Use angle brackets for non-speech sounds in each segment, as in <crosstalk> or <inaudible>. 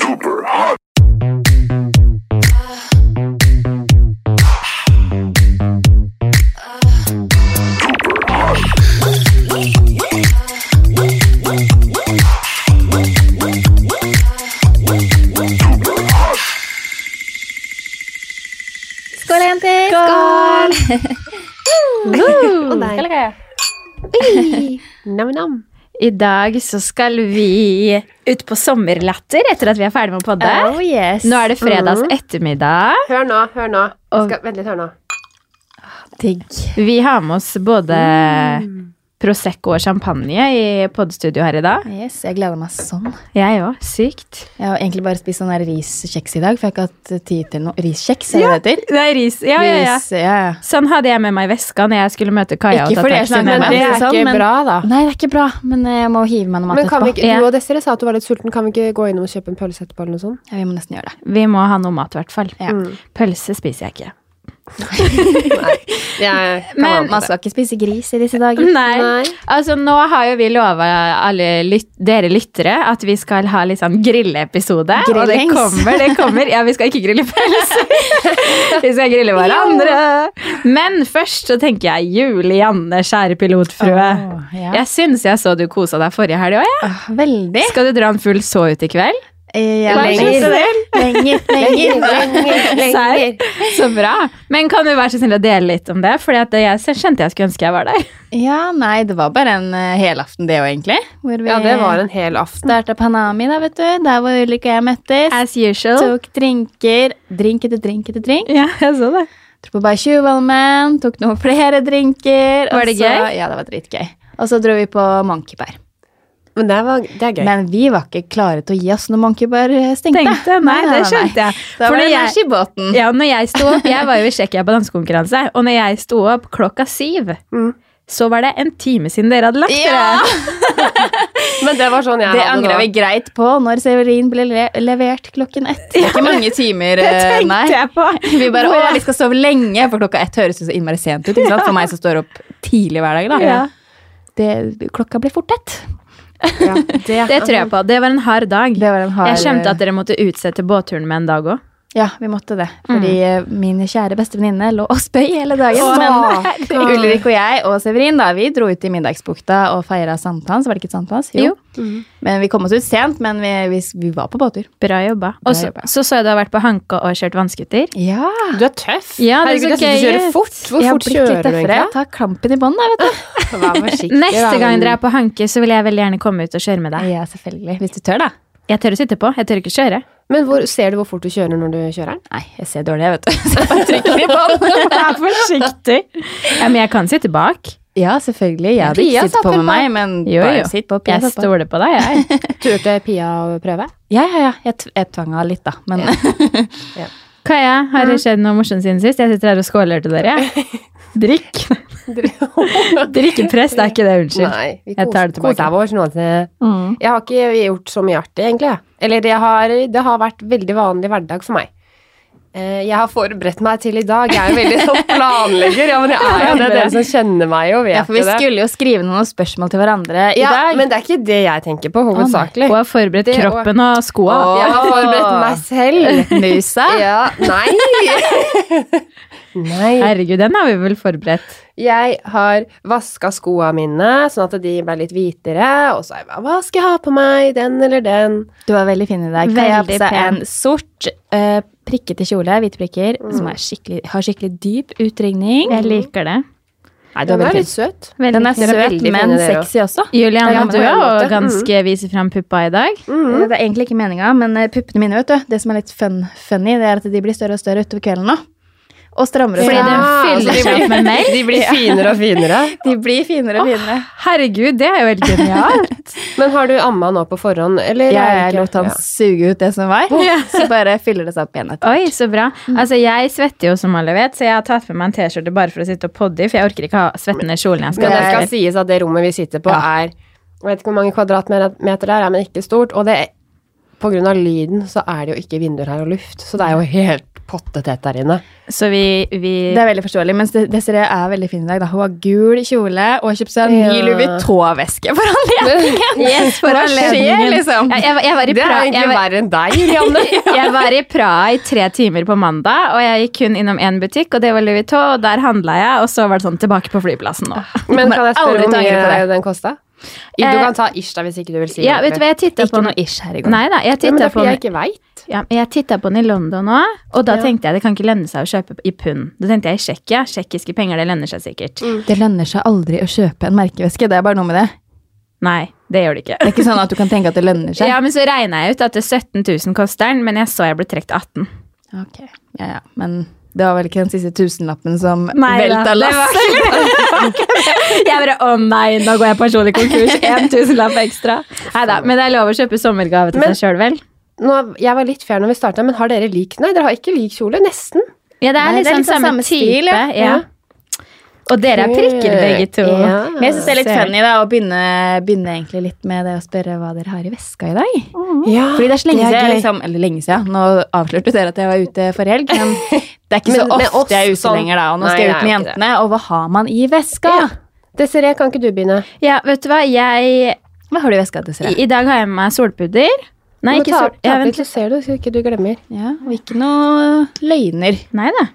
duper hot. Duper hot. Duper hot. Skål, jenter! Skål! Og deg. Skål, Kaja. Nam-nam. I dag så skal vi ut på sommerlatter etter at vi er ferdig med å podde. Oh yes. Nå er det fredags Mhm. ettermiddag. Hør nå, hør nå. Og- Skal, vent litt, hør nå. digg. Vi har med oss både Prosecco og champagne i podstudio her i dag. Yes, jeg gleder meg sånn. Jeg òg. Sykt. Jeg har egentlig bare spist sånn der riskjeks i dag, for jeg har ikke hatt tid til noe. Riskjeks, er det det heter? Det er ris. Ja, ja, ja. Ris, ja, ja. Sånn hadde jeg med meg i veska når jeg skulle møte Kaja. Ikke og ta fordi jeg taxi snakker ned. Men med det er sånn, ikke men- bra, da. Nei, det er ikke bra, men jeg må hive meg noe mat Men kan vi etterpå. ikke, Ja. Du og Desiree sa at du var litt sulten. Kan vi ikke gå innom og kjøpe en pølse etterpå? eller noe sånt? Ja, vi må nesten gjøre det. Vi må ha noe mat, i hvert fall. Ja. Mm. Pølse spiser jeg ikke. Jeg kan Men- Mm. være med på Man det. skal altså, ikke spise gris i disse dager. Nei. Nei. Altså, nå har jo vi lova alle lyt dere lyttere at vi skal ha litt sånn grilleepisode. Og det Grillings. kommer, det kommer. Ja, vi skal ikke grille pølser. vi skal grille hverandre. Men først så tenker jeg Julianne, kjære pilotfrue. Åh, ja. Jeg syns jeg så du kosa deg forrige helg òg, jeg. Åh, Veldig. Eh, Skal du dra en full så ut i kveld? Jeg Hva synes du lenger, det? lenger, <laughs> lenger. Lenger, lenger. Så bra. Men kan du være så snill å dele litt om det? For jeg kjente jeg skulle ønske jeg var der. Ja, nei, det var bare en eh, helaften det òg, egentlig. Hvor vi Ja, det var en hel aften. starta Panami, da, vet du. Der hvor Ulrik og jeg møttes. As usual. Tok drinker. Drink etter drink etter drink. Ja, jeg så det. Dro på Bay Tjuvholmen, tok noen flere drinker. og Var det så, gøy? Ja, det var dritgøy. Og så dro vi på Monkeybar. Men det, var, det er gøy. Men vi var ikke klare til å gi oss når Monkeybar stengte. <laughs> Tenkte, nei, det skjønte jeg. For Da når var det jeg- nach i båten. Ja, når jeg sto opp, jeg var jo i Tsjekkia på dansekonkurranse, og når jeg sto opp klokka syv, Mm. så var det en time siden dere hadde lagt Ja, dere. Men det var sånn jeg Det hadde angrer vi det. greit på når Severin ble le levert klokken ett. Det er ikke mange timer, <laughs> Det eh, tenkte nei. jeg på. Vi bare, Hvor å, jeg- vi skal sove lenge, for klokka ett høres jo så innmari sent ut. Ikke sant? For meg som står opp tidlig hver dag, da. Ja. Det, klokka blir fort ett. Ja, det- Det tror jeg på. Det var en hard dag. Det var en hard eh, Jeg skjønte at dere måtte utsette båtturen med en dag òg. Ja, vi måtte det. Fordi eh, min kjære bestevenninne lå og spøy hele dagen. Åh, <laughs> men herregud. Ulrik og jeg og Severin da, vi dro ut i middagsbukta og feira sankthans. Var det ikke sankthans? Jo. Men vi kom oss ut sent, men vi, vi, vi var på båttur. Bra jobba. Og så jobba. så så jeg du har vært på Hanka og kjørt vannskuter. Ja. Du er tøff. Ja, det er Herregud, så jeg synes du gøy kjører ut. fort. Hvor Jeg har fort blitt litt kjører du tøffere. egentlig? Ta klampen i bånd, da, vet du. Vær forsiktig. Neste da. gang dere er på Hanke, så vil jeg veldig gjerne komme ut og kjøre med deg. <laughs> Ja, selvfølgelig. Hvis du tør, da. Jeg tør å sitte på, jeg tør ikke <laughs> kjøre. Men hvor, ser du hvor fort du kjører når du kjører den? Nei, jeg ser dårlig, jeg, vet du. Så jeg <laughs> bare trykker i bånd. <laughs> Vær forsiktig. Ja, men jeg kan sitte bak. Ja, selvfølgelig. Jeg hadde Pia ikke sittet satt på vel på. med meg, men Jo, jo. bare sitt på. Pia Jeg satt på. stoler på deg, jeg. Turte Pia å prøve? Ja, ja, ja. Jeg, t jeg tvang av litt, da. Men <laughs> Kaja, har det skjedd noe morsomt siden sist? Jeg sitter her og skåler til <laughs> dere. Drikk. Drikkepress, det er ikke det. Unnskyld. Nei, vi Jeg tar koser det tilbake. koser vår sånn at det- Mm. Jeg har ikke gjort så mye artig, egentlig. jeg. Eller jeg har, det har vært veldig vanlig hverdag for meg. Eh, Jeg har forberedt meg til i dag. Jeg er jo veldig sånn planlegger. Ja, men jeg er jo det. Dere som kjenner meg jo, vet ja, for vi jo det. skulle jo skrive noen spørsmål til hverandre i Ja, dag. men det er ikke det jeg tenker på, hovedsakelig. Hun har forberedt Det- kroppen og skoa. Å. Jeg har forberedt meg selv. <laughs> Nusa. <laughs> Ja, nei. nei. Herregud, den har vi vel forberedt. Jeg har vaska skoa mine, sånn at de ble litt hvitere. Og så har jeg bare Hva skal jeg ha på meg? Den eller den? Du var veldig fin i dag. Veldig Jeg har på seg pen. en sort, eh, prikkete kjole, hvite prikker, som er skikkelig, har skikkelig dyp utringning. Jeg liker det. Nei, du Den var er veldig litt fin. søt. Veldig Den er fint. Dere er søt, veldig men fine, dere sexy også. Julianne, Ja, men du på en er måte. Mm. også ganske viser fram puppa i dag. Eh, Det er egentlig ikke meninga, men eh, puppene mine, vet du. Det som er litt fun, funny, det er at de blir større og større utover kvelden nå. Og strammere og Fordi Ja, den strammere. fyller altså, de seg opp med melk. De blir finere og finere. De blir finere og finere. Herregud, det er jo helt <laughs> genialt. Men har du amma nå på forhånd, eller? er Jeg det ikke? lot han suge ut det som var, <laughs> så bare fyller det seg opp igjen etter. Oi, så bra. Altså, jeg svetter jo, som alle vet, så jeg har tatt med meg en T-skjorte bare for å sitte og podde i, for jeg orker ikke ha svettende kjolen jeg Men skal det ha. skal sies at det rommet vi sitter på, er Jeg vet ikke hvor mange kvadratmeter det er, men ikke stort. Og det på grunn av lyden så er det jo ikke vinduer her og luft, så det er jo helt pottetett der inne. Så vi, vi Det er veldig forståelig, mens De- Desiree er veldig fin i dag. Da. Hun har gul kjole og har kjøpt seg en ny Ja. Louis Vuitton-veske for <laughs> anledningen! Yes, for Hva skjer, anledningen. liksom? Jeg, jeg, var- jeg, var i Det er Praha, jeg, egentlig <laughs> var- verre enn deg, <laughs> Rianne. jeg var i Praha i tre timer på mandag, og jeg gikk kun innom én butikk, og det var Louis Vuitton, og der handla jeg, og så var det sånn tilbake på flyplassen nå. Men kan jeg spørre Aldri hvor til å angre på mye det. den kosta? Du Eh, kan ta ish da hvis ikke du vil si Ja, vet du hva, jeg titta på den ish her i Nei da, jeg Ja, men det titta er på fordi jeg den ikke veit. ja, men jeg tittet på den i London nå, og da Ja. tenkte jeg det kan ikke lønne seg å kjøpe i pund. Da tenkte jeg i Tsjekkia, tsjekkiske penger, det lønner seg sikkert. Mm. Det lønner seg aldri å kjøpe en merkeveske. Det er bare noe med det. Nei, det gjør det Det ikke. er ikke sånn at du kan tenke at det lønner <laughs> seg. Ja, men så regna jeg ut at det 17 000 koster den, men jeg så jeg ble trukket 18 Ok, ja, ja. Men det var vel ikke den siste tusenlappen som Nei da, velta det var lasset? <laughs> Jeg bare å nei, nå går jeg personlig <laughs> konkurs. En tusenlapp ekstra. Nei da, men det er lov å kjøpe sommergave til Men- seg sjøl, vel? Nå, jeg var litt fair når vi starta, men har dere lik Nei, dere har ikke lik kjole. Nesten. Ja, det er Nei, det er liksom litt sånn samme, samme type. stil, ja. ja. Og dere er prikker, begge to. Ja. Men jeg syns det er litt Ser. funny da, å begynne, begynne egentlig litt med det å spørre hva dere har i veska i dag. Ja, Fordi det er så lenge det er siden, jeg gøy. liksom, eller lenge siden, nå avslørte dere at jeg var ute forrige helg, men det er ikke Men så med ofte oss jeg er ute sånn- lenger da, og nå Nei, skal jeg det ut er med jo ikke det. jentene, og hva har man i veska? Ja. Desiree, kan ikke du begynne? Ja, vet du hva, jeg Hva har du i veska, Desiree? I, i dag har jeg med meg solpudder. Nei, ikke sol... Ja, vent litt. Så ser du, så ikke du glemmer. Ja, og ikke noe løgner. litt. Nei da.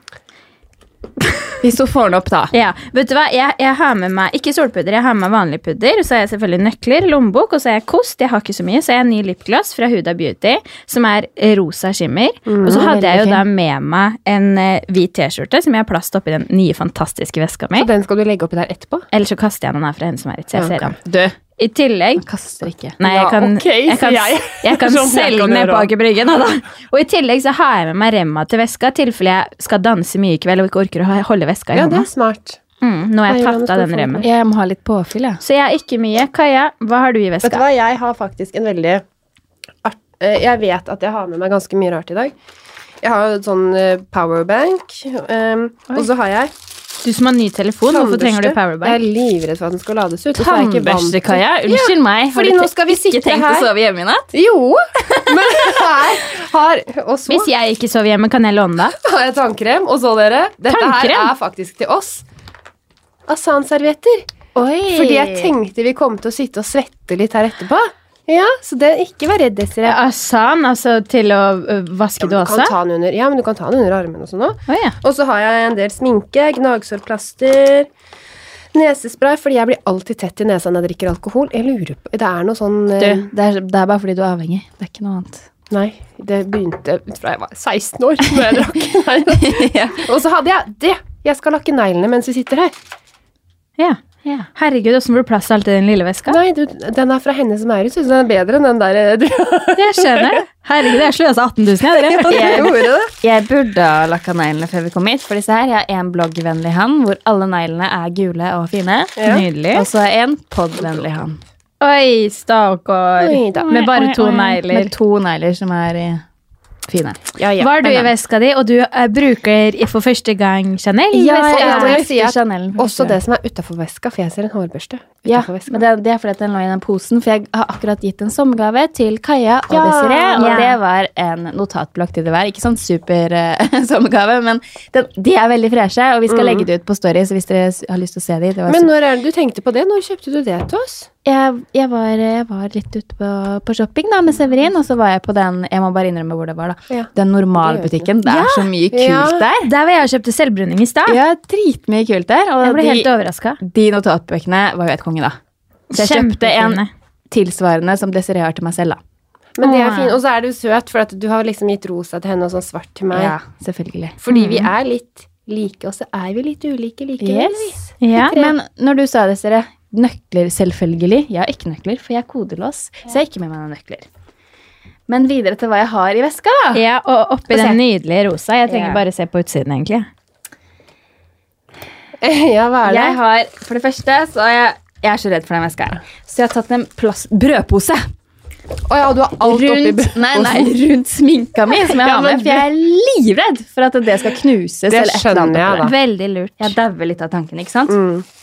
Hvis hun får den opp da. Ja, vet du hva, jeg, jeg har med meg ikke solpudder, jeg har med meg vanlig pudder. og Så har jeg selvfølgelig nøkler, lommebok, og så har jeg kost. Jeg har ikke så mye, så har jeg en ny lipgloss fra Huda Beauty, som er eh, rosa skimmer. Mm, og så hadde jeg jo veldig da med meg en eh, hvit T-skjorte som jeg har plast oppi den nye, fantastiske veska mi. Så den skal du legge oppi der etterpå? Eller så kaster jeg den her fra henne som er her, så jeg ser den. Du, I tillegg kaster ikke. Nei, jeg Ja, kan, ok, sier jeg kan, jeg. jeg kan <laughs> Sånn jeg selge kan den ned på gjøre. Aker Brygge. nå da. Og i tillegg så har jeg med meg remma til veska, i tilfelle jeg skal danse mye i kveld og ikke orker å ha- holde veska i Ja, det hånda. er smart. Mm, nå har jeg Nei, hvordan tatt av skal den folk- remmen. Jeg må ha litt påfyll, ja. Så jeg er ikke mye. Kaja, hva har du i Vet du veska? hva, jeg har faktisk en veldig art... eh, Jeg vet at jeg har med meg ganske mye rart i dag. Jeg har jo et sånn eh, powerbank, um, og så har jeg Du som har ny telefon, hvorfor trenger du powerbank? Jeg er livredd for at den skal lades ut. og så er jeg ikke vant Tannbørste, til- Kaja. Unnskyld meg. fordi nå skal vi sitte her. sove hjemme i natt? Jo, <laughs> men her har Og så Hvis jeg ikke sover hjemme, kan jeg låne deg? <laughs> har jeg tannkrem. Og så, dere, dette Tannkrem? her er faktisk til oss. Asan-servietter. Oi. Fordi jeg tenkte vi kom til å sitte og svette litt her etterpå. Ja, Så det, ikke vær redd, Desiree. Asan, altså til å ø, Ja, vaske men du dåse? kan ta den under, ja, men du kan ta den under armen og sånn også. Å ja. Og så har jeg en del sminke, gnagsårplaster, nesespray, fordi jeg blir alltid tett i nesa når jeg drikker alkohol. Jeg lurer på, Det er noe sånn Du, eh, det er, det er bare fordi du er avhengig. Det er ikke noe annet. Nei, det begynte fra jeg var 16 år, <laughs> når jeg drakk. Nei. Og så hadde jeg det! Jeg skal lakke neglene mens vi sitter her. ja. Herregud, åssen får du plass til alt i den lille veska? Nei, du, den er fra henne som eier huset, så den er bedre enn den der eh, <laughs> du Jeg skjønner. Herregud, jeg sløsa 18 000, jeg, <laughs> dere. Jeg gjorde det. Jeg burde ha lakka neglene før vi kom hit. For disse her, Jeg har en bloggvennlig hand hvor alle neglene er gule og fine. Ja. Nydelig. Og så har jeg en podvennlig hand. Oi, stakkar. Oi da. Med bare to negler. Med to negler som er eh, fine. Ja, ja. Hva har du i veska di, og du ø, bruker i- for første gang Chanel? Ja, jeg- jeg jeg må jo si at Chanel. Også det som er utafor veska, for jeg ser en hårbørste Ja, utenfor veska. men det, det er fordi at den lå i den posen, for jeg har akkurat gitt en sommergave til Kaja og Desiree, og Ja. det var en notatblokk til det hver. Ikke sånn super eh, <laughs> sommergave, men den, de er veldig freshe, og vi skal legge det ut på Story, så hvis dere s- har lyst til å se de, det var Men super. når er det du tenkte på det? Når kjøpte du det til oss? Jeg, jeg, var, jeg var litt ute på, på shopping da, med Severin, og så var jeg på den, jeg må bare innrømme hvor det var da, Ja. den normalbutikken. Det er så mye kult Ja. der. Der var jeg og kjøpte selvbruning i stad. <laughs> Ja, dritmye kult der. Og Jeg ble de- helt overraska. De notatbøkene var jo et konge, da. Så jeg kjøpte en tilsvarende som Desiree har til meg selv, da. Men det er Åh. fint. Og så er du søt, for at du har liksom gitt rosa til henne og sånn svart til meg. Ja, Mm. selvfølgelig. Fordi vi er litt like, og så er vi litt ulike likevel. Yes. Ja. Men når du sa det, Sere, nøkler selvfølgelig. Jeg har ikke nøkler, for jeg er kodelås, så jeg har ikke med meg noen nøkler. Men videre til hva jeg har i veska, da. Ja, og oppi Få se. den nydelige rosa. Jeg trenger Ja. bare se på utsiden, egentlig. <laughs> ja, hva er det? Jeg har, For det første, så har jeg Jeg er så redd for den veska her. Så jeg har tatt en plass, brødpose Å ja, du har alt oppi rundt, brødposen. nei, nei, rundt sminka mi, som <laughs> jeg Ja, har men med, for jeg er livredd for at det skal knuses. Det eller et eller skjønner annet jeg, oppi der. Ja. Veldig lurt. Mm. Jeg dauer litt av tanken, ikke sant?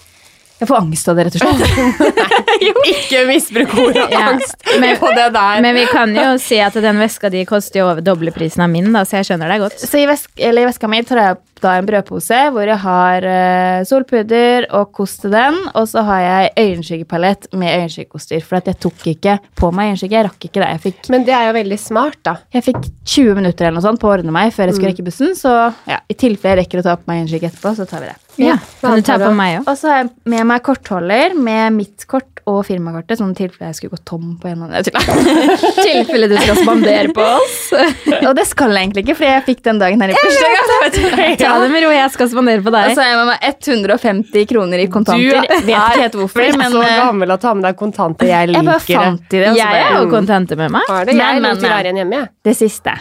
Jeg får angst av det, rett og slett. Ikke misbruk ord og Ja, angst men- på det der. Men vi kan jo si at den veska di koster jo over doble prisen av min, da, så jeg skjønner deg godt. <laughs> Så i, vesk, eller i veska mi tar jeg opp da en brødpose hvor jeg har eh, solpudder og kost til den, og så har jeg øyenskyggepaljett med øyenskyggekoster, for at jeg tok ikke på meg øyenskygge. Jeg rakk ikke det. Jeg fikk, Men det er jo veldig smart, da. jeg fikk 20 minutter eller noe sånt på å ordne meg før jeg skulle rekke bussen, så ja, i tilfelle jeg rekker å ta på meg øyenskygge etterpå, så tar vi det. Ja, Kan du ta på meg òg? Og så har jeg med meg kortholder med mitt kort og firmakortet, sånn i tilfelle jeg skulle gå tom på en av dem. tilfelle du skal spandere på oss. <laughs> <laughs> Og det skal jeg egentlig ikke, for jeg fikk den dagen her i <laughs> bursdagen. <laughs> Ta det med ro, jeg skal spandere på Og deg. så har jeg med meg 150 kroner i kontanter. Du er- vet ikke helt hvorfor, Men, men så eh, gammel å ta med deg kontanter. Jeg jeg bare liker det. fant i det. og så Jeg er bare, jo kontente med meg. Har det? Jeg Men, men, lot det være igjen hjemme, jeg. det siste.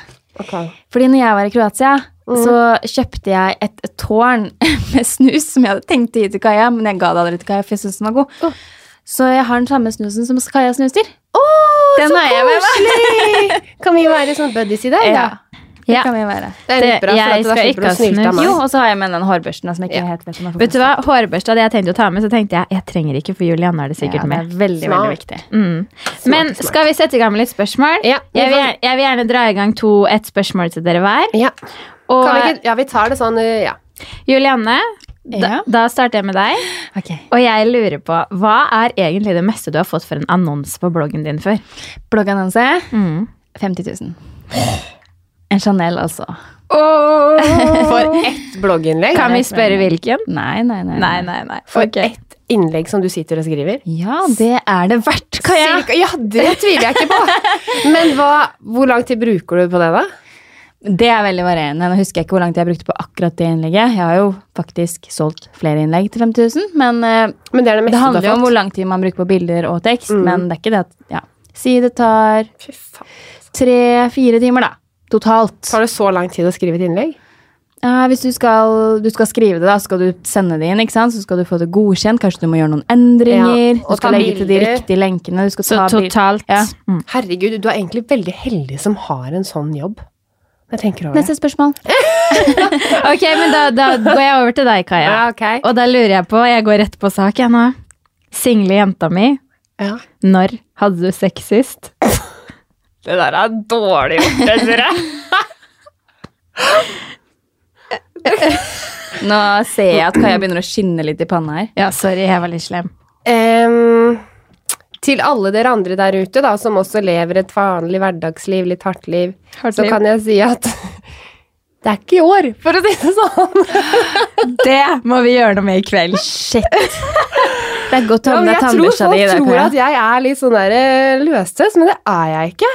Ok. Fordi når jeg var i Kroatia, Mm. så kjøpte jeg et tårn <laughs> med snus som jeg hadde tenkt å gi til Kaja, men jeg ga det aldri til Kaja, for jeg syntes den var Oh. god. Så jeg har den samme snusen som Kaja snuser. Den har jeg med meg. Kan vi være sånn buddies i dag, da? Ja, det Ja. kan vi være. Det er Det- litt bra, for jeg at da skal ikke slipper du å ha snylte av snus. meg. Jo, og så har jeg med den hårbørsten da, som jeg ikke Ja. helt vet om er for Vet du hva, Hårbørste hadde jeg tenkt å ta med, så tenkte jeg jeg trenger ikke, for Julian har det Ja, sikkert det med. er veldig, Smart. veldig viktig. Mm. Men skal vi sette i gang med litt spørsmål? Ja, vi jeg, vil, får- jeg vil gjerne dra i gang to, ett spørsmål til dere hver. Ja. Og Kan vi ikke, ja, vi tar det sånn, eh, ja. Julianne, da, Ja. da starter jeg med deg. Og jeg lurer på, hva er egentlig det meste du har fått for en annonse på bloggen din før? Bloggannonse Mm. 50 000. En Chanel, altså. <laughs> For ett blogginnlegg. Kan vi spørre hvilken? Nei, nei, nei. Nei, nei, nei. For Ok. ett innlegg som du sitter og skriver. Ja, det er det verdt, Kaja. Cirka- Ja, det tviler jeg ikke på. Men hva, hvor lang tid bruker du på det, da? Det er veldig varierende. Nå husker jeg ikke hvor lang tid jeg brukte på akkurat det innlegget. Jeg har jo faktisk solgt flere innlegg til 5000, men eh, Men det er det det meste handler du jo har om fått. hvor lang tid man bruker på bilder og tekst, Mm. men det er ikke det at ja. Si det tar Fy faen. tre-fire timer, da. Totalt. Tar det så lang tid å skrive et innlegg? Ja, Eh, hvis du skal, du skal skrive det, da, så skal du sende det inn, ikke sant? så skal du få det godkjent. Kanskje du må gjøre noen endringer. Ja, og du skal ta legge til de bilder. riktige lenkene. Du skal Så ta bil- totalt. Ja. Mm. Herregud, du er egentlig veldig heldig som har en sånn jobb. Jeg tenker over det. Neste spørsmål. Ok, men da, da går jeg over til deg, Kaja. Ja, ok. Og da lurer jeg på, jeg går rett på sak jeg nå. Single jenta mi, Ja. når hadde du sex <laughs> sist? Det der er dårlig gjort, Ezra. Nå ser jeg at Kaja begynner å skinne litt i panna her. Ja, sorry, jeg var litt slem. Em, til alle dere andre der ute da, som også lever et vanlig hverdagsliv, litt hardt liv, Hardt så liv. kan jeg si at <laughs> det er ikke i år, for å si det sånn. Det må vi gjøre noe med i kveld. Shit. Det er godt å Ja, ha men med jeg deg tror tannbørsta folk di. der, tror Kaja. at jeg er litt sånn der eh, løstøs, men det er jeg ikke.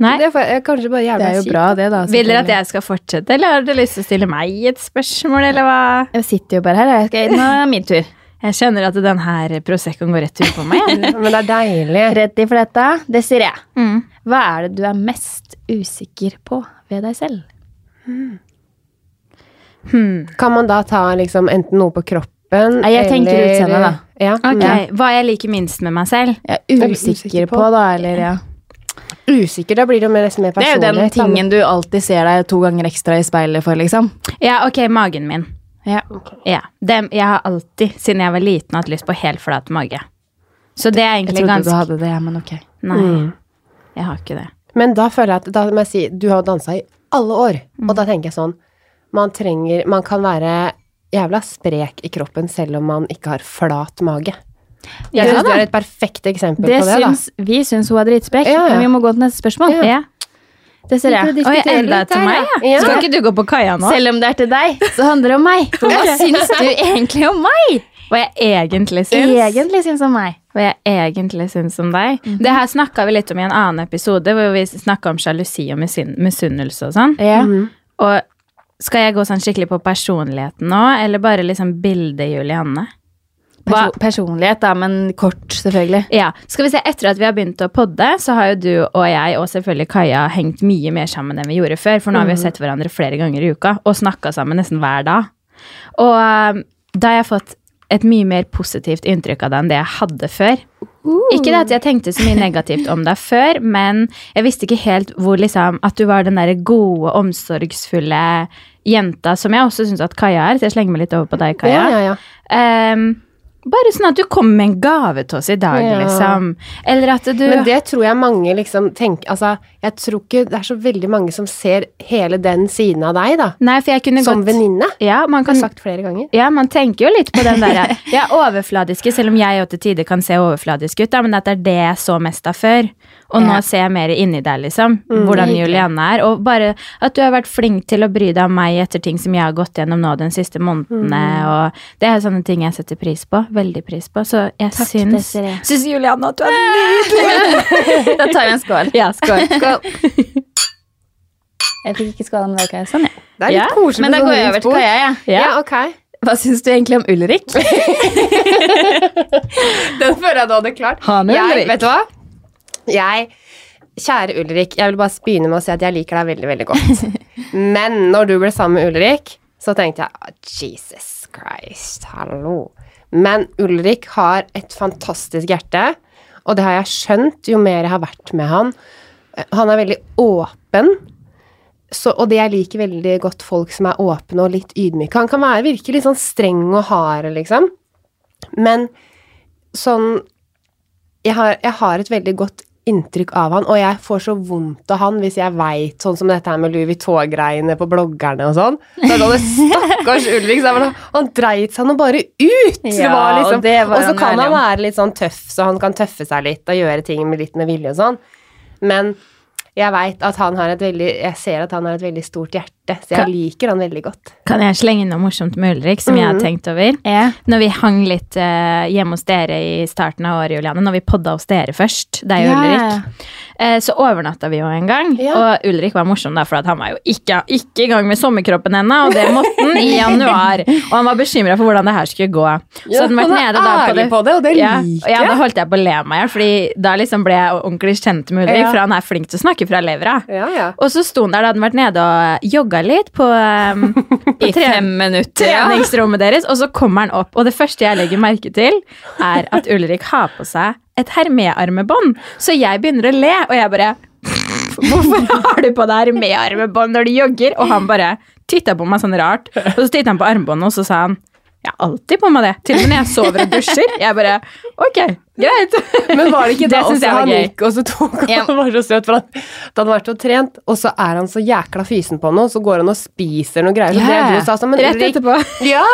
Nei, Det er for- jeg er kanskje bare Det jævla er jo kjip. bra, det, da. vil dere at jeg skal fortsette, eller har dere lyst til å stille meg et spørsmål, eller hva? Jeg sitter jo bare her. Jeg skal, nå er det min tur. Jeg skjønner at den her proseccoen går rett ut på meg. jeg. <laughs> Men det er deilig. Ready for dette? Desiree, Mm. hva er det du er mest usikker på ved deg selv? Hmm. Kan man da ta liksom enten noe på kroppen Nei, jeg tenker eller- utseende, da. Ja. Ok, Ja. hva jeg liker minst med meg selv? Jeg Eller er usikker usikker på, på, da, eller ja. Usikker, da blir det jo mer- nesten mer Det er personlig. jo den tingen du alltid ser deg to ganger ekstra i speilet for, liksom. Ja, ok, magen min. Ja. Ja, dem, jeg har alltid, siden jeg var liten, hatt lyst på helt flat mage. Så det er Jeg egentlig trodde ganske du hadde det, ja, men ok. Nei, jeg har ikke det. Men da føler jeg at da må jeg si, du har dansa i alle år. Og da tenker jeg sånn man, trenger, man kan være jævla sprek i kroppen selv om man ikke har flat mage. Jeg Ja, synes du da. er et perfekt eksempel Det på det. syns, vi syns hun er dritsprekk, Ja, ja. men vi må gå til neste spørsmål. Ja. Desiree, Liker å Oi, diskutere enda litt til her, meg, ja. ja. Ja. Skal ikke du gå på kaia nå? selv om det er til deg, så handler det <laughs> om meg. For hva syns du egentlig om meg? Hva jeg egentlig syns. Egentlig syns om meg. Hva jeg egentlig syns om deg. Det her snakka vi litt om i en annen episode, hvor vi snakka om sjalusi og misun- misunnelse og sånn. Ja. Og skal jeg gå sånn skikkelig på personligheten nå, eller bare liksom bildet Julianne? Hva- Perso personlighet, da, men kort, selvfølgelig. Ja, skal vi se, Etter at vi har begynt å podde, så har jo du og jeg og selvfølgelig Kaja hengt mye mer sammen enn vi gjorde før. For nå har vi jo sett hverandre flere ganger i uka og snakka sammen nesten hver dag. Og eh, da har jeg fått et mye mer positivt inntrykk av deg enn det jeg hadde før. Ikke det at jeg tenkte så mye negativt om deg før, men jeg visste ikke helt hvor liksom At du var den derre gode, omsorgsfulle jenta som jeg også syns at Kaja er. Så jeg slenger meg litt over på deg, Kaja. Ja, ja, ja. Ehm, Bare sånn at du kommer med en gave til oss i dag, Ja. liksom. Eller at du Men det tror jeg mange liksom tenker Altså, jeg tror ikke det er så veldig mange som ser hele den siden av deg, da. Nei, for jeg kunne Som godt venninne. Mm. Ja, man Har kan sagt flere ganger. Ja, man tenker jo litt på den der Ja, overfladiske, selv om jeg jo til tider kan se overfladisk ut, da, men at det er det jeg så mest av før. Og nå Ja. ser jeg mer inni deg, liksom, hvordan Hyggelig. Julianne er. Og bare at du har vært flink til å bry deg om meg etter ting som jeg har gått gjennom nå den siste månedene, og det er jo sånne ting jeg setter pris på. Veldig pris på. Så jeg Takk, syns Desiree. Syns Julianne at du er nydelig! <laughs> Da tar vi en skål. Ja, <laughs> skål. Jeg fikk ikke skåla med deg, Kaja. Sånn, ja. Det er litt Ja, koselig Men da med går sånn jeg over rundt til bord. Kaja. Ja. Ja, Ja. ok. Hva syns du egentlig om Ulrik? <laughs> Den føler jeg du hadde klart. Ha med Jeg, Ulrik. vet du hva? Jeg Kjære Ulrik, jeg vil bare begynne med å si at jeg liker deg veldig, veldig godt. Men når du ble sammen med Ulrik, så tenkte jeg «Ah, Jesus Christ, hallo. Men Ulrik har et fantastisk hjerte, og det har jeg skjønt jo mer jeg har vært med han. Han er veldig åpen, så, og det jeg liker veldig godt folk som er åpne og litt ydmyke. Han kan være, virke litt sånn streng og hard, liksom. Men sånn jeg har, jeg har et veldig godt inntrykk av han, og jeg får så vondt av han hvis jeg veit sånn som dette her med Louis Vuitton-greiene på bloggerne og sånn. Da går det stakkars Ulrik, så jeg bare, han dreit seg nå bare ut! det Ja, var og liksom, det var og så han kan ærlig han om. være litt sånn tøff, så han kan tøffe seg litt og gjøre ting med litt med vilje og sånn. Men jeg veit at han har et veldig Jeg ser at han har et veldig stort hjerte, så jeg Ka- liker han veldig godt. Kan jeg slenge inn noe morsomt med Ulrik, som jeg har Mm. tenkt over? Ja. Når vi hang litt eh, hjemme hos dere i starten av året, Juliane, når vi podda hos dere først, deg og Ja. Ulrik, eh, så overnatta vi jo en gang. Ja. Og Ulrik var morsom, da, for at han var jo ikke, ikke i gang med sommerkroppen ennå, og det måtte han <laughs> i januar. Og han var bekymra for hvordan det her skulle gå. Ja, så hadde han vært han er nede da på ærlig det, på det, og det ja, liker ja, da holdt jeg på å le meg i hjel, fordi da liksom ble jeg ordentlig kjent med Ulrik, Ja. for han er flink til å snakke fra levra. Ja, ja. Og så sto han der, da hadde han vært nede og jogga litt på, <laughs> um, på tre- minutter. treningsrommet deres, og så kommer han opp. Og det første jeg legger merke til, er at Ulrik har på seg et Hermé-armebånd. Så jeg begynner å le, og jeg bare Hvorfor har du på deg Hermé-armebånd når du jogger? Og han bare titta på meg sånn rart, og så titta han på armbåndet, og så sa han jeg har alltid på meg det, til og med når jeg sover og dusjer. Jeg bare, ok, greit. Men var det ikke da Det synes også jeg var han gøy. gikk, og så tok han Ja. Han var så søt, for han, da hadde han vært og trent, og så er han så jækla fysen på noe, så går han og spiser noe greier. Så Ja, det ja. du sa, sånn, men Rett Ulrik, etterpå. ja.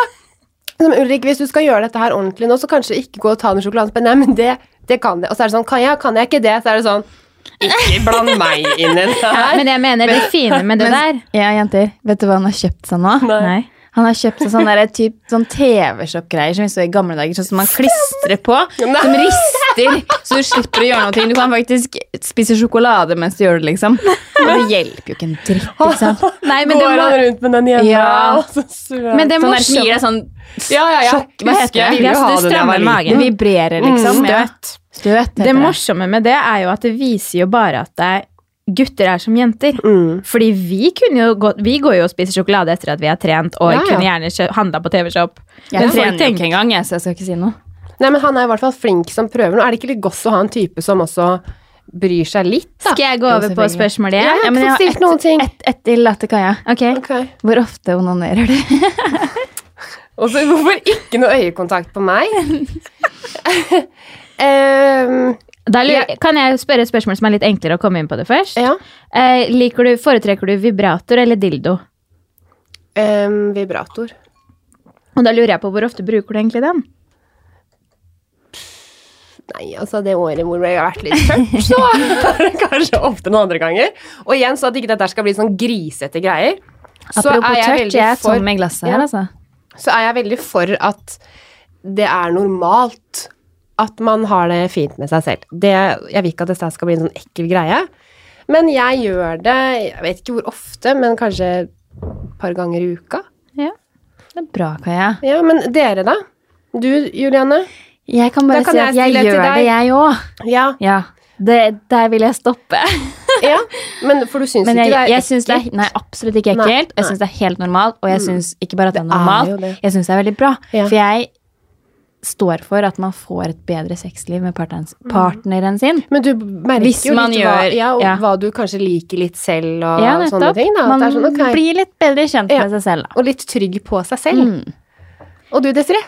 Men Ulrik, hvis du skal gjøre dette her ordentlig nå, så kanskje ikke gå og ta den sjokoladespenn. Nei, men det, det kan det. Og så er det sånn, kan jeg, kan jeg ikke det? Så er det sånn, ikke bland meg inn i det Ja, her. men jeg mener det fine med det der Ja, jenter. Vet du hva han har kjøpt seg nå? Nei. Han har kjøpt seg sånn der, typ, sånn TV-shop-greier som vi så i gamle dager, sånn som man klistrer på, Nei. som rister, så du slipper å gjøre noe. Du kan faktisk spise sjokolade mens du gjør det, liksom. Og det hjelper jo ikke en dritt, ikke sant? <laughs> Nei, men det Går han må, rundt med den hjemme? Ja. og så søt. men det Sånn der som morsomme gir deg sånn ja, ja, ja. sjokk, hva heter det? Husker jeg ville Ja, så du ha det da jeg strammer var liten. magen. Det vibrerer, liksom. Mm, Ja. støt. Støt heter Det morsomme med det er jo at det viser jo bare at det, gutter er som jenter. Mm. Fordi vi, kunne jo gå, vi går jo og spiser sjokolade etter at vi har trent, og Ja, ja. kunne gjerne kjø- handla på TV-Shop. Jeg Men folk trener jo tenker- ikke engang, jeg, så jeg skal ikke si noe. Nei, men han er i hvert fall flink som prøver nå. Er det ikke litt godt å ha en type som også bryr seg litt, da? Skal jeg gå Jo, over på selvfølgelig. spørsmålet Ja, igjen? ja. Ja, men jeg har fått stilt noen ett ting. et, et til etter Kaja. Ok. Ok. Hvor ofte onanerer du? Og så hvorfor ikke noe øyekontakt på <laughs> meg? Ehm, Da lurer, Ja. Kan jeg spørre et spørsmål som er litt enklere å komme inn på det først? ja. Eh, liker du, foretrekker du vibrator eller dildo? Ehm, vibrator. Og da lurer jeg på hvor ofte bruker du egentlig den? Nei, altså det året hvor jeg har vært litt tørt, så <laughs> er det kanskje ofte noen andre ganger. Og igjen, så at ikke dette skal bli sånn grisete greier, <laughs> så Apropos er jeg tørt, veldig jeg er for tom i glasset Ja. her, altså. så er jeg veldig for at det er normalt at man har det fint med seg selv. Det, jeg vil ikke at dette skal bli en sånn ekkel greie, men jeg gjør det Jeg vet ikke hvor ofte, men kanskje et par ganger i uka. Det er bra, Kaja. Ja, men dere, da? Du, Julianne? Jeg kan bare Da kan si jeg at jeg stille til gjør deg. det, jeg òg. Ja, Ja. Det, der vil jeg stoppe. ja. Men for du syns Men ikke jeg, det er jeg syns det er Nei, absolutt ikke Nei, ekkelt. og nei. Jeg Mm. syns det er helt normalt, og jeg syns ikke bare at det er Det er jo normalt, det. jeg syns det er veldig bra. Ja. For jeg står for at man får et bedre sexliv med partneren, Mm. partneren sin. Men du merker Hvis jo man litt hva, gjør- ja, og ja. hva du kanskje liker litt selv, og Ja, sånne nettopp. ting. Da. At Man det er sånn, ok. blir litt bedre kjent Ja. med seg selv, da. Og litt trygg på seg selv. Mm. Og du, Desiree?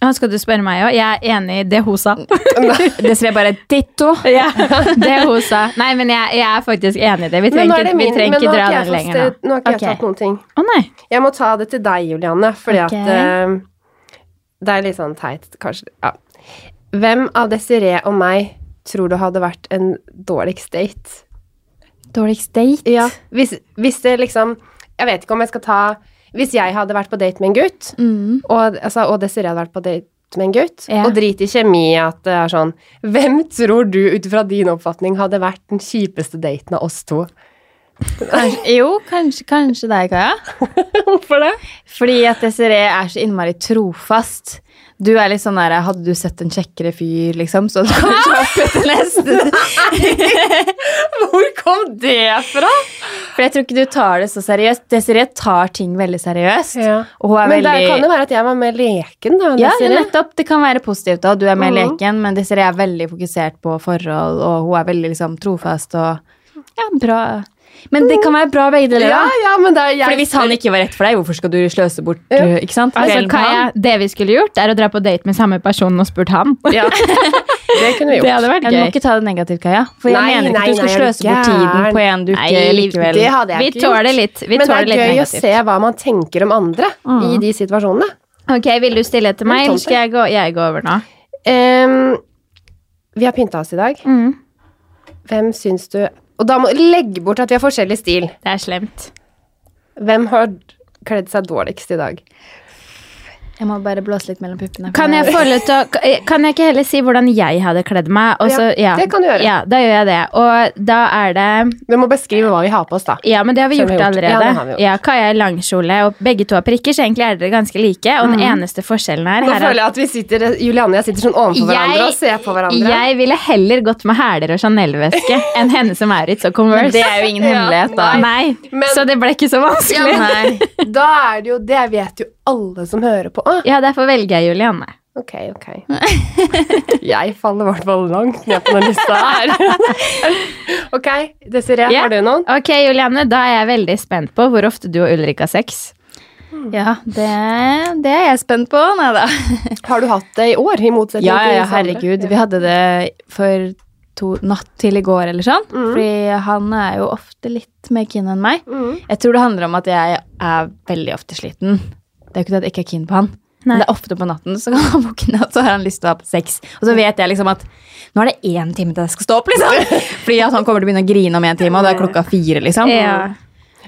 Han skal du spørre meg òg. Jeg er enig i det hun sa. Desiree bare ditto. ja, <laughs> det hun sa. Nei, men jeg, jeg er faktisk enig i det. Vi Men nå trenger er det ikke, vi min, trenger men ikke nå har dra ikke jeg, den fått, lenger nå. eh, nå har ikke Ok. jeg tatt noen ting. Å nei. Jeg må ta det til deg, Julianne, fordi at Ok. eh, Det er litt sånn teit, kanskje. Ja. Hvem av Desiree og meg tror du hadde vært en dårligst date? Dårligst date. Ja, hvis, hvis det liksom Jeg vet ikke om jeg skal ta Hvis jeg hadde vært på date med en gutt, Mm. og, altså, og Desiree hadde vært på date med en gutt, Ja. og drit i kjemi at det er sånn Hvem tror du, ut fra din oppfatning, hadde vært den kjipeste daten av oss to? Kanskje, jo, kanskje, kanskje deg, Kaja. <laughs> Hvorfor det? Fordi at Desiree er så innmari trofast. Du er litt sånn der Hadde du sett en kjekkere fyr, liksom, så hadde du kanskje hoppet til neste. <laughs> Hvor kom det fra? For jeg tror ikke du tar det så seriøst. Desiree tar ting veldig seriøst. Og hun er Men veldig det kan jo være at jeg var mer leken, da. enn Ja, Desiree. nettopp. Det kan være positivt, da. Du er mer Mhm. leken, men Desiree er veldig fokusert på forhold, og hun er veldig liksom trofast og Ja, bra. Men det kan være bra begge deler, ja, da. ja, men det er jeg Fordi hvis han ikke var rett for deg, hvorfor skal du sløse bort Ja. uh, ikke sant? Altså, kvelden med Kaja, han? det vi skulle gjort, er å dra på date med samme person og spurt han. <laughs> Ja, det kunne vi Det gjort. hadde vært Ja, Du må gøy. ikke ta det negativt, Kaja. For jeg Nei, mener ikke nei, at du skal nei, er du sløse bort tiden gæren? på en du ikke Nei, likevel Det hadde jeg Vi ikke gjort. tåler litt, vi Men det tåler er litt gøy å negativt. se hva man tenker om andre i Mm. de situasjonene. Ok, Vil du stille til meg, eller skal jeg gå, jeg gå over nå? Ehm, vi har pynta oss i dag. Mm. Hvem syns du Og da må legg bort at vi har forskjellig stil. Det er slemt. Hvem har kledd seg dårligst i dag? Jeg må bare blåse litt mellom puppene. for Kan jeg, få lov til å, eh, kan jeg ikke heller si hvordan jeg hadde kledd meg? Og så- ja, Ja, det kan du gjøre. Ja, da gjør jeg det. Og da er det Du må beskrive hva vi har på oss, da. Ja, men det har vi Som gjort, vi har gjort. Ja, allerede. det Ja, har vi gjort. Kaja er langkjole, og begge to har prikker, så egentlig er dere ganske like. Og den eneste forskjellen her, Mhm. Nå her føler jeg at vi sitter, Julianne og jeg sitter sånn overfor hverandre og ser på hverandre. jeg ville heller gått med hæler og Chanel-veske <laughs> enn henne som er i og Converse. Men det er jo ingen hemmelighet, da. Ja, nei, Men- så det ble ikke så vanskelig. meg. Nei. Da er det jo Det vet jo alle som hører på. Ah, Ja, derfor velger jeg Julianne. Ok, ok. <laughs> Jeg faller i hvert fall langt ned på den lista <laughs> her. Ok, Desiree, Ja. har du noen? Ok, Julianne, da er jeg veldig spent på hvor ofte du og Ulrik har sex. <laughs> Ja, det, det er jeg spent på. Nei da. Har du hatt det i år, i motsetning Ja, ja, ja, til disse herregud. andre? Vi hadde det for to, natt til i går eller sånn. Mm. Fordi han er jo ofte litt mer keen enn meg. Mhm. Jeg tror det handler om at jeg er veldig ofte sliten. Det er jo ikke det at jeg ikke er keen på han. Nei. Men det er ofte på natten så kan han våkne, og så har han lyst til å ha på sex. Og Mm. så vet jeg liksom at nå er det én time til jeg skal stå opp, <laughs> liksom. Fordi at han kommer til å begynne å grine om én time, og da er klokka fire, liksom. Ja.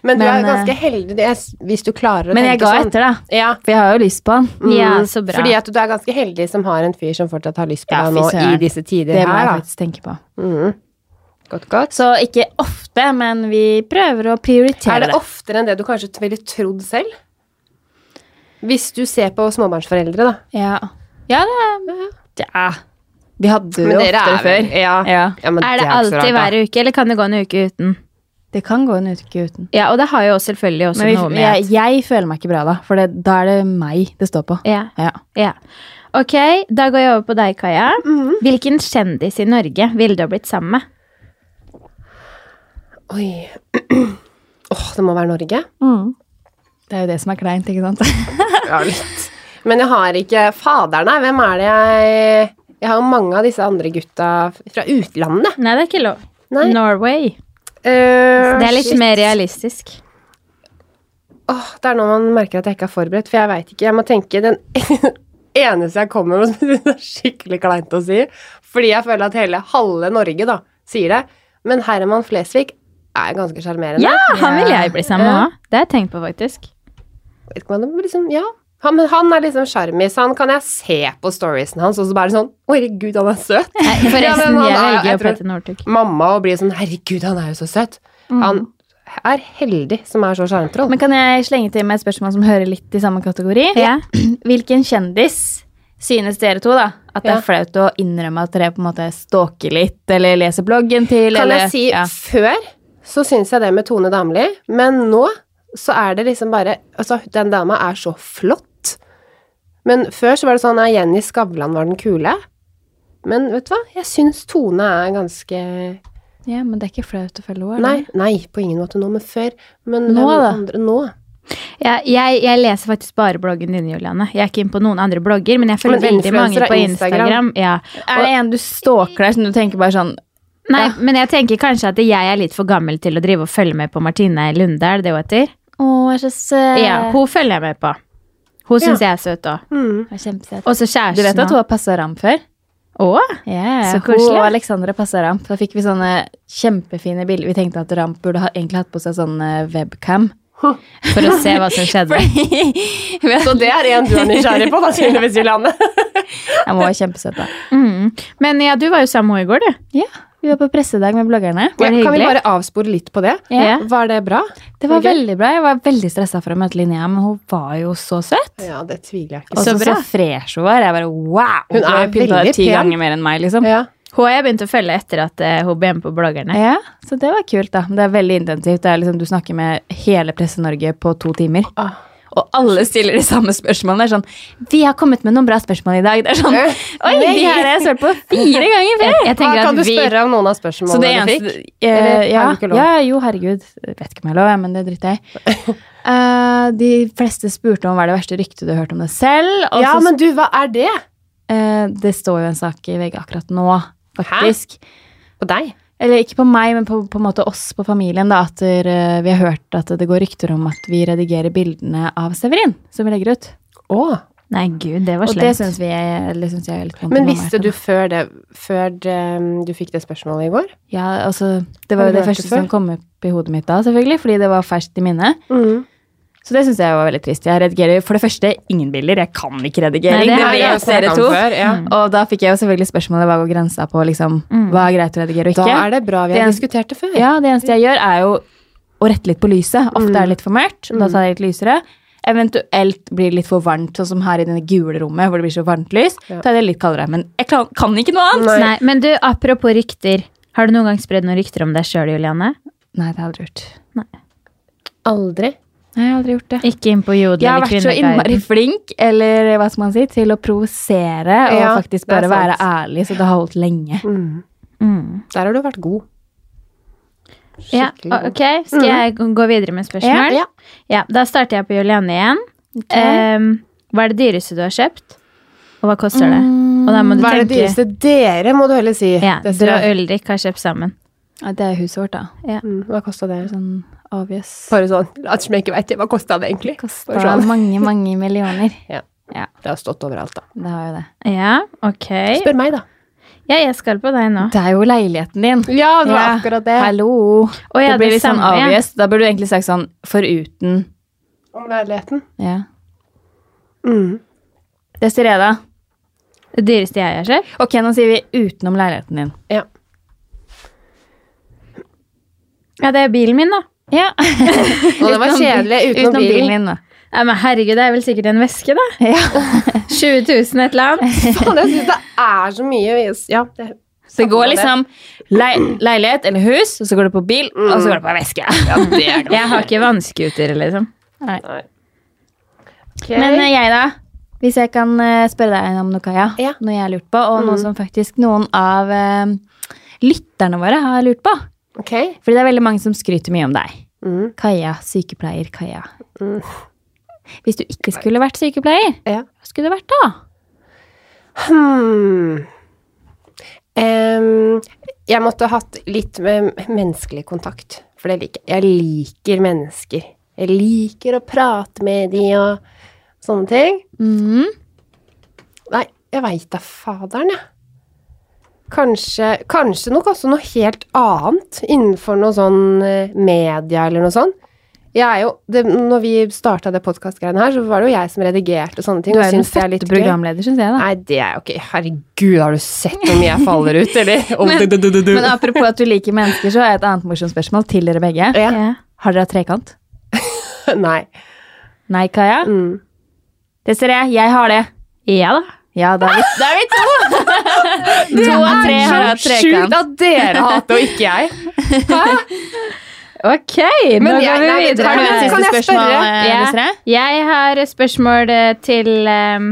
Men du er Men, eh, jo ganske heldig det er- hvis du klarer å Men jeg tenke ga sånn. etter, da. Ja. For jeg har jo lyst på han. Ja, Mm. så bra. Fordi at du er ganske heldig som har en fyr som fortsatt har lyst på Ja, deg fy nå søren. i disse tider Det må her, jeg da. faktisk tenke på. Mm. Godt, godt. Så ikke ofte, men vi prøver å Er prioritere det oftere enn det du kanskje ville trodd selv? Hvis du ser på småbarnsforeldre, da. Ja. ja, det er ja. Vi hadde jo oftere før. Ja. Ja. Ja, men Er det ikke så alltid rart, da. hver uke, eller kan det gå en uke uten? Det kan gå en uke uten. Ja, og det har jo selvfølgelig også Men vi, noe med jeg, jeg føler meg ikke bra da, for det, da er det meg det står på. ja. Ja. Ja. Ok, da går jeg over på deg, Kaja. Mhm. Hvilken kjendis i Norge ville du ha blitt sammen med? Oi. <clears throat> Åh, det må være Norge. Mm. Det er jo det som er kleint, ikke sant? Ja, litt. Men jeg har ikke Fader, nei. Hvem er det jeg Jeg har jo mange av disse andre gutta fra utlandet. Nei, det er ikke lov. Nei. Norway. Eh, Det er litt shit. mer realistisk. Åh, det er nå man merker at jeg ikke er forberedt, for jeg veit ikke. Jeg må tenke Den <laughs> eneste jeg kommer med <laughs> som jeg synes er skikkelig kleint å si, fordi jeg føler at hele halve Norge da sier det, men Herman Flesvig er ganske sjarmerende. Ja, han ville jeg bli sammen med òg. Det har jeg tenkt på, faktisk. Vet ikke om han er liksom, ja. Han, men han er liksom sjarmis. Han kan jeg se på storiesen hans, og så bare sånn Å, herregud, han er søt. <laughs> Nei, Forresten, men han jeg er- velger jeg jo tror- Petter Northug. Mamma og blir sånn Herregud, han er jo så søt. Mm. Han er heldig som er så sjarmtroll. <laughs> Men kan jeg slenge til med et spørsmål som hører litt i samme kategori? Ja. <clears throat> Hvilken kjendis synes dere to da, at det Ja. er flaut å innrømme at dere på en måte stalker litt, eller leser bloggen til, Kan eller jeg si ja. før så syns jeg det med Tone Damli, men nå så er det liksom bare Altså, den dama er så flott. Men før så var det sånn at Jenny Skavlan var den kule. Men vet du hva? Jeg syns Tone er ganske ja, men det er ikke flaut å følge henne? er det? Nei, nei, på ingen måte nå, men før. Men Nå, hvem da? Andre, nå. Jeg, jeg, jeg leser faktisk bare bloggen din, Juliane. Jeg er ikke inne på noen andre blogger, men jeg følger Men veldig mange influencer på og Instagram. Instagram. Ja. Er det en du stalker der, som du tenker bare sånn Nei, men jeg tenker kanskje at jeg er litt for gammel til å drive og følge med på Martine Lunde, er det det hun heter? Å, jeg er så søt. Ja, hun følger jeg med på. Hun syns jeg er søt òg. <laughs> Mm. Hun er kjempesøt. Og så Du vet kjæresten at hun har passa ramp før? òg. Ja, Så hun koselig. og Alexandra passa ramp. Da fikk vi sånne kjempefine bilder. Vi tenkte at ramp burde ha, egentlig hatt på seg sånn eh, webcam. <laughs> For å se hva <laughs> som skjedde. Så det er en du er nysgjerrig på, da, tydeligvis, Juliane. <laughs> Jeg må være kjempesøt, da. Mm. Men ja, du var jo sammen med henne i går, du. Ja, vi var på pressedag med bloggerne. Var det kan vi hyggelig? bare avspore litt på det? Ja. Var det bra? Det var Var det veldig bra. Jeg var veldig stressa for å møte Linnea, men hun var jo så søt. Ja, det tviler jeg ikke Og på. så Så bra. fresh hun var. Jeg bare wow! Hun Du er har pynta deg veldig ti pen. ganger mer enn meg, liksom. Ja. Hun har jeg begynt å følge etter at eh, hun ble med på bloggerne. Ja, så det var kult, da. Det er veldig intensivt. Det er liksom, du snakker med hele Presse-Norge på to timer. Ah. Og alle stiller de samme spørsmålene. Det er sånn Vi har kommet med noen bra spørsmål i dag. Det er sånn Eh, Oi, de her har jeg svart på <laughs> fire ganger før! Jeg Hva tenker kan at du vi spørre om noen av Så det spørsmålene du fikk? eneste eh, Eller ja, er det ikke lov? ja, jo, herregud. Jeg vet ikke om jeg har lov, jeg, men det driter jeg i. <laughs> Eh, de fleste spurte om hva er det verste ryktet du har hørt om deg selv. Og Ja, så men du, hva er det? Eh, det står jo en sak i VG akkurat nå, faktisk. På deg? Eller ikke på meg, men på, på en måte oss på familien. Da, at eh, vi har hørt at det går rykter om at vi redigerer bildene av Severin. Som vi legger ut. Å. Nei, gud, det var Og det slemt. syns vi er, eller synes jeg er litt vondt. Men om mamma visste er du til. før det Før det, um, du fikk det spørsmålet i går? Ja, altså, Det Har var du jo det hørt det første før? som kom opp i hodet mitt da, selvfølgelig. Fordi det var ferskt i minnet. Så det syns jeg var veldig trist. Jeg redigerer for det første ingen bilder. Jeg kan ikke redigering. Nei, det det, har vi vet dere to. Og da fikk jeg jo selvfølgelig spørsmålet hva går grensa på liksom, hva er greit å redigere Mm. og Da ikke. er det bra vi Det er har en- diskutert det før. Ja, det eneste jeg gjør er jo å rette litt på lyset. Ofte er det litt for mørkt, da tar jeg litt lysere. Eventuelt blir det litt for varmt, sånn som her i denne gule rommet hvor det blir så varmt lys. Ja. tar jeg det litt kaldere, men jeg kan, kan ikke noe annet. Nei. Nei, men du, apropos rykter. Har du noen gang spredd noen rykter om deg sjøl, Juliane? Nei, det har jeg aldri gjort. Aldri. Nei, jeg har aldri gjort det. Ikke inn på Jodel Jeg har eller vært så innmari Kvinneguiden. flink eller hva skal man si, til å provosere og Ja, faktisk det er bare være sant. ærlig, så det har holdt lenge. Mm. Der har du vært god. Ja, Skikkelig god. Mhm. ok, Skal jeg gå videre med spørsmål? Ja, ja. Ja, Da starter jeg på Juliane igjen. Ehm, hva er det dyreste du har kjøpt? Og hva koster det? Og da må du Mm, Hva er det tenke dyreste dere, må du heller si? Ja, Det Dere og tror jeg. Ulrik har kjøpt sammen. Ja, det er huset vårt, da. Mm, Hva kosta det? Sånn obvious. Bare sånn, at som jeg ikke vet det, hva kosta det egentlig? Kosta Bare sånn. mange, mange millioner. Ja. Ja, Det har stått overalt, da. det har jo det. Ja, ok. Spør meg, da. Ja, jeg skal på deg nå. Det er jo leiligheten din. Ja, det var Ja. akkurat det. Hallo. Å, ja, det blir det litt sånn liksom, samme, ja. obvious. Da burde du egentlig sagt sånn foruten. Om leiligheten. Ja. Mm. Desiree, da. Det dyreste jeg har kjøpt? Ok, nå sier vi utenom leiligheten din. Ja. Ja, det er bilen min, da. <laughs> Ja. Og det var kjedelig utenom bilen. din, da. Ja, men herregud, det er vel sikkert en veske, da. <laughs> Ja. 20 000 et eller annet. Faen, jeg syns det er så mye Ja, det, Så det går liksom lei- leilighet eller hus, og så går det på bil, og så går det på veske. Jeg har ikke vannskuter, liksom. Men eh, jeg, da? Hvis jeg kan eh, spørre deg om noe, Kaja. Ja. Noe jeg har lurt på, og Mm. noe som faktisk noen av eh, lytterne våre har lurt på. Ok. Fordi det er veldig mange som skryter mye om deg. Mm. Kaja, sykepleier Kaja. Mm. Hvis du ikke skulle vært sykepleier, Ja. hva skulle du vært da? Hmm. Em, jeg måtte ha hatt litt med menneskelig kontakt, for det liker jeg. Jeg liker mennesker. Jeg liker å prate med de og sånne ting. Mm. Nei, jeg veit da faderen, jeg. Kanskje, kanskje nok også noe helt annet innenfor noe sånn eh, media eller noe sånt. Jeg er jo, det, når vi starta det podkastgreiene her, så var det jo jeg som redigerte sånne ting. Du og er jo den synes det er litt fødte gøy. programleder, syns jeg. da. Nei, det er jo ikke Herregud, har du sett hvor mye jeg faller ut, eller? Om <laughs> Men- du, du, du, du. Men apropos at du liker mennesker, så har jeg et annet morsomt spørsmål til dere begge. ja. Ja. Har dere hatt trekant? Nei. Nei, Kaja? Mm. Desiree, jeg har det. ja da. Ja, da Ah! er vi, da er vi <laughs> to! to av tre har hatt trekant. at dere har hatt det, og ikke jeg. Ok, nå Men jeg- går vi nei, men- videre. Har du Men et kan siste jeg spørsmål, spørre? eh, Ja. Desiree? Jeg har et spørsmål eh, til ehm,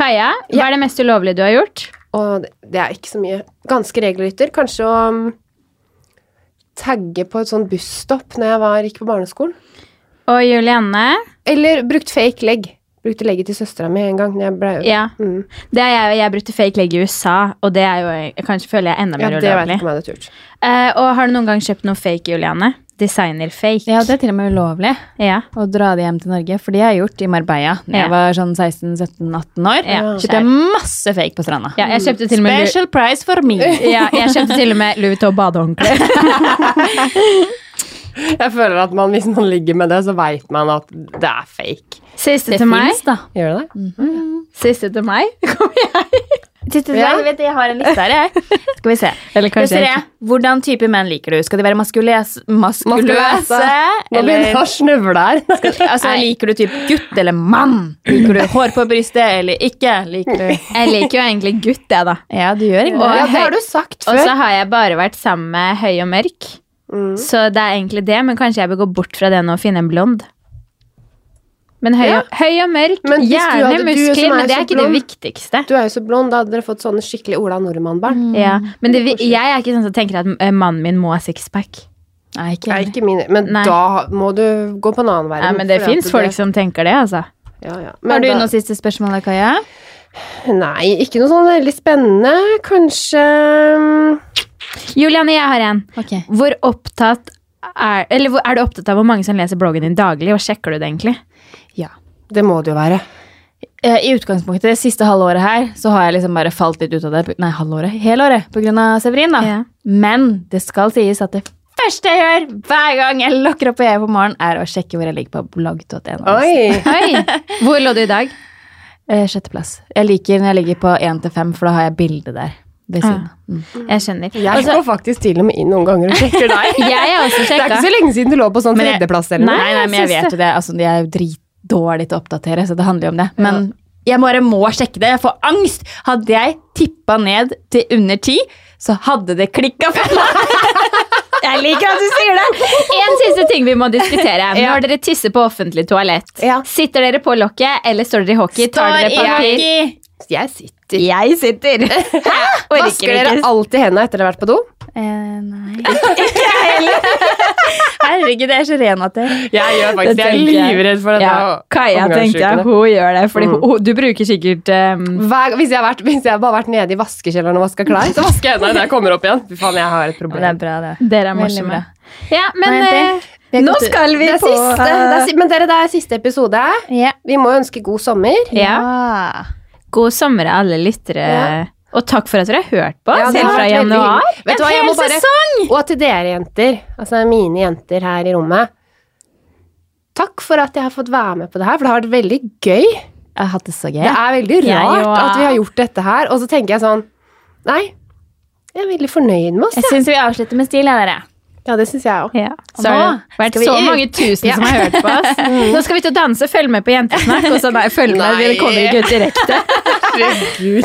Kaja. Hva er det mest ulovlige du har gjort? Og det- det er ikke så mye. Ganske regelrytter. Kanskje å mm, tagge på et sånt busstopp når jeg var, gikk på barneskolen. Og Julianne. Eller brukt fake legg. Brukte legget til søstera mi en gang. Når jeg ble, Ja. Mm. Det er jeg, jeg brukte fake legg i USA, og det er jo jeg kanskje føler jeg er enda ja, mer det vet jeg ulovlig. ikke om jeg hadde turt. Eh, og har du noen gang kjøpt noe fake, Julianne? Designer-fake. Ja, det er til og med ulovlig <laughs> Ja. å dra det hjem til Norge, for det har jeg gjort i Marbella når Ja. jeg var sånn 16-17-18 år. Ja, Kjøpte jeg masse fake på stranda. Ja, jeg kjøpte til og med Special price for <laughs> me. ja, jeg kjøpte til og med Louis Vuitton badehåndkle. Jeg føler at man, hvis man ligger med det, så veit man at det er fake. Siste <laughs> Det til meg. finnes, da. Gjør det det? Siste til <laughs> meg. Siste til Ja. deg, vet, du, jeg har en liste her, jeg. Skal <laughs> vi se. Eller kanskje Desiree, hvordan type menn liker du? Skal de være maskules, maskuløse? Nå begynner jeg Eller å snøvle her. <laughs> altså, liker du typ gutt eller mann? Liker du hår på brystet eller ikke? Liker <laughs> du Jeg liker jo egentlig gutt, jeg, da. Ja, du gjør egentlig Og- det. <laughs> Ja, det har du sagt Og før. så har jeg bare vært sammen med høy og mørk. Mm. Så det er egentlig det, men kanskje jeg bør gå bort fra det nå og finne en blond. Men høy, Ja. og, høy og mørk, Men hvis du gjerne hadde- du muskler, som er men det så er ikke blond. det viktigste. Du er jo så blond, da hadde dere fått sånne skikkelig Ola Nordmann-barn. Ja. Men det, vi- jeg er ikke sånn som tenker at eh, mannen min må ha sixpack. Nei, ikke Nei, enig. ikke mine. Men Nei. da må du gå på en annen verden. Nei, men det fordi at fins folk som tenker det, altså. ja, ja. Har Men du da- noe siste spørsmål, Kaja? Nei, ikke noe sånn veldig spennende. Kanskje mm, Julianne, jeg har en. Ok. Hvor opptatt er, eller hvor- er du opptatt av hvor mange som leser bloggen din daglig, og sjekker du det <laughs> egentlig? Ja. Det må det jo være. Eh, I utgangspunktet, det siste halvåret her, så har jeg liksom bare falt litt ut av det. Nei, halvåret. Helåret, på grunn av Severin, da. Ja. Men det skal sies at det første jeg gjør hver gang jeg lokker opp øyet på morgenen, er å sjekke hvor jeg ligger på blogg.no. Oi! Oi, Hvor lå du i dag? Eh, Sjetteplass. Jeg liker når jeg ligger på 1 til 5, for da har jeg bilde der ved siden. av. Mm. Jeg skjønner. Jeg går faktisk til og med inn noen ganger og sjekker <laughs> deg. Jeg er også Det er ikke sjekka. så lenge siden du lå på sånn Men jeg- tredjeplass eller Nei, noe. nei, jeg men jeg synes vet jo det. Altså, de er jo dritdårlige til å oppdatere, så det handler jo om det. Men jeg bare må sjekke det. Jeg får angst. Hadde jeg tippa ned til under 10, så hadde det klikka for meg. Jeg liker at du sier det! En siste ting vi må diskutere. Når dere tisser på offentlig toalett, Ja. sitter dere på lokket, eller står dere i hockey? Tar dere Står i papir? hockey. Jeg sitter Jeg sitter. Hæ? <laughs> Orker Vasker dere ikke. alltid hendene etter dere har vært på do? Eh, nei. <laughs> Herregud, jeg er så ren at jeg Jeg gjør Det tenker jeg. Ja, Kaja tenkte jeg, hun gjør det, fordi Mm. hun, du bruker sikkert um, Hver, hvis, jeg har vært, hvis jeg bare har vært nede i vaskekjelleren og vaska klær, så vasker jeg hendene når jeg kommer opp igjen. Fy faen, jeg har et Det er problem. bra, det. Dere er Veldig morsomme. bra. Ja, men Nei, det- eh, vi har nå gått ut. skal vi Det er på siste, det er, si- men dere, det er siste episode. Ja. Vi må ønske god sommer. Ja. God sommer, alle lyttere. Ja. Og takk for at dere har hørt på Ja, oss det helt har fra vært veldig januar. hyggelig. Vet du hva, jeg må bare, Og til dere jenter, altså mine jenter her i rommet. Takk for at jeg har fått være med på det her, for det har vært veldig gøy. Jeg har hatt det så gøy. Det er veldig Jeg rart òg. at vi har gjort dette her, og så tenker jeg sånn Nei, jeg er veldig fornøyd med oss, Jeg jeg. syns vi avslutter med stil, jeg, dere. Ja, det syns jeg òg. Ja. Så Nå har det vært skal vi så ut. mange tusen som har hørt på oss. Nå skal vi ut og danse. Følg med på Jentesnakk. Og så nei, følg med, Nei. dere kommer ikke ut direkte. Herregud.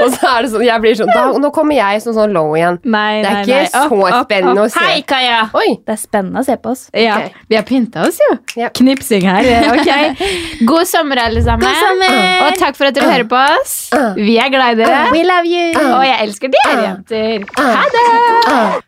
og så er det sånn, jeg blir sånn da, Nå kommer jeg som sånn low igjen. Nei, Det nei, er ikke nei. Opp, så opp, opp. spennende å se. Hei, Kaja! Oi! Det er spennende å se på oss. Ja, Ok. Vi har pynta oss, jo. Ja. Knipsing her. ok. God sommer, alle sammen. God sommer. Og takk for at dere hører på oss. Vi er glad i dere. We love you! Og jeg elsker dere, jenter. Ha det!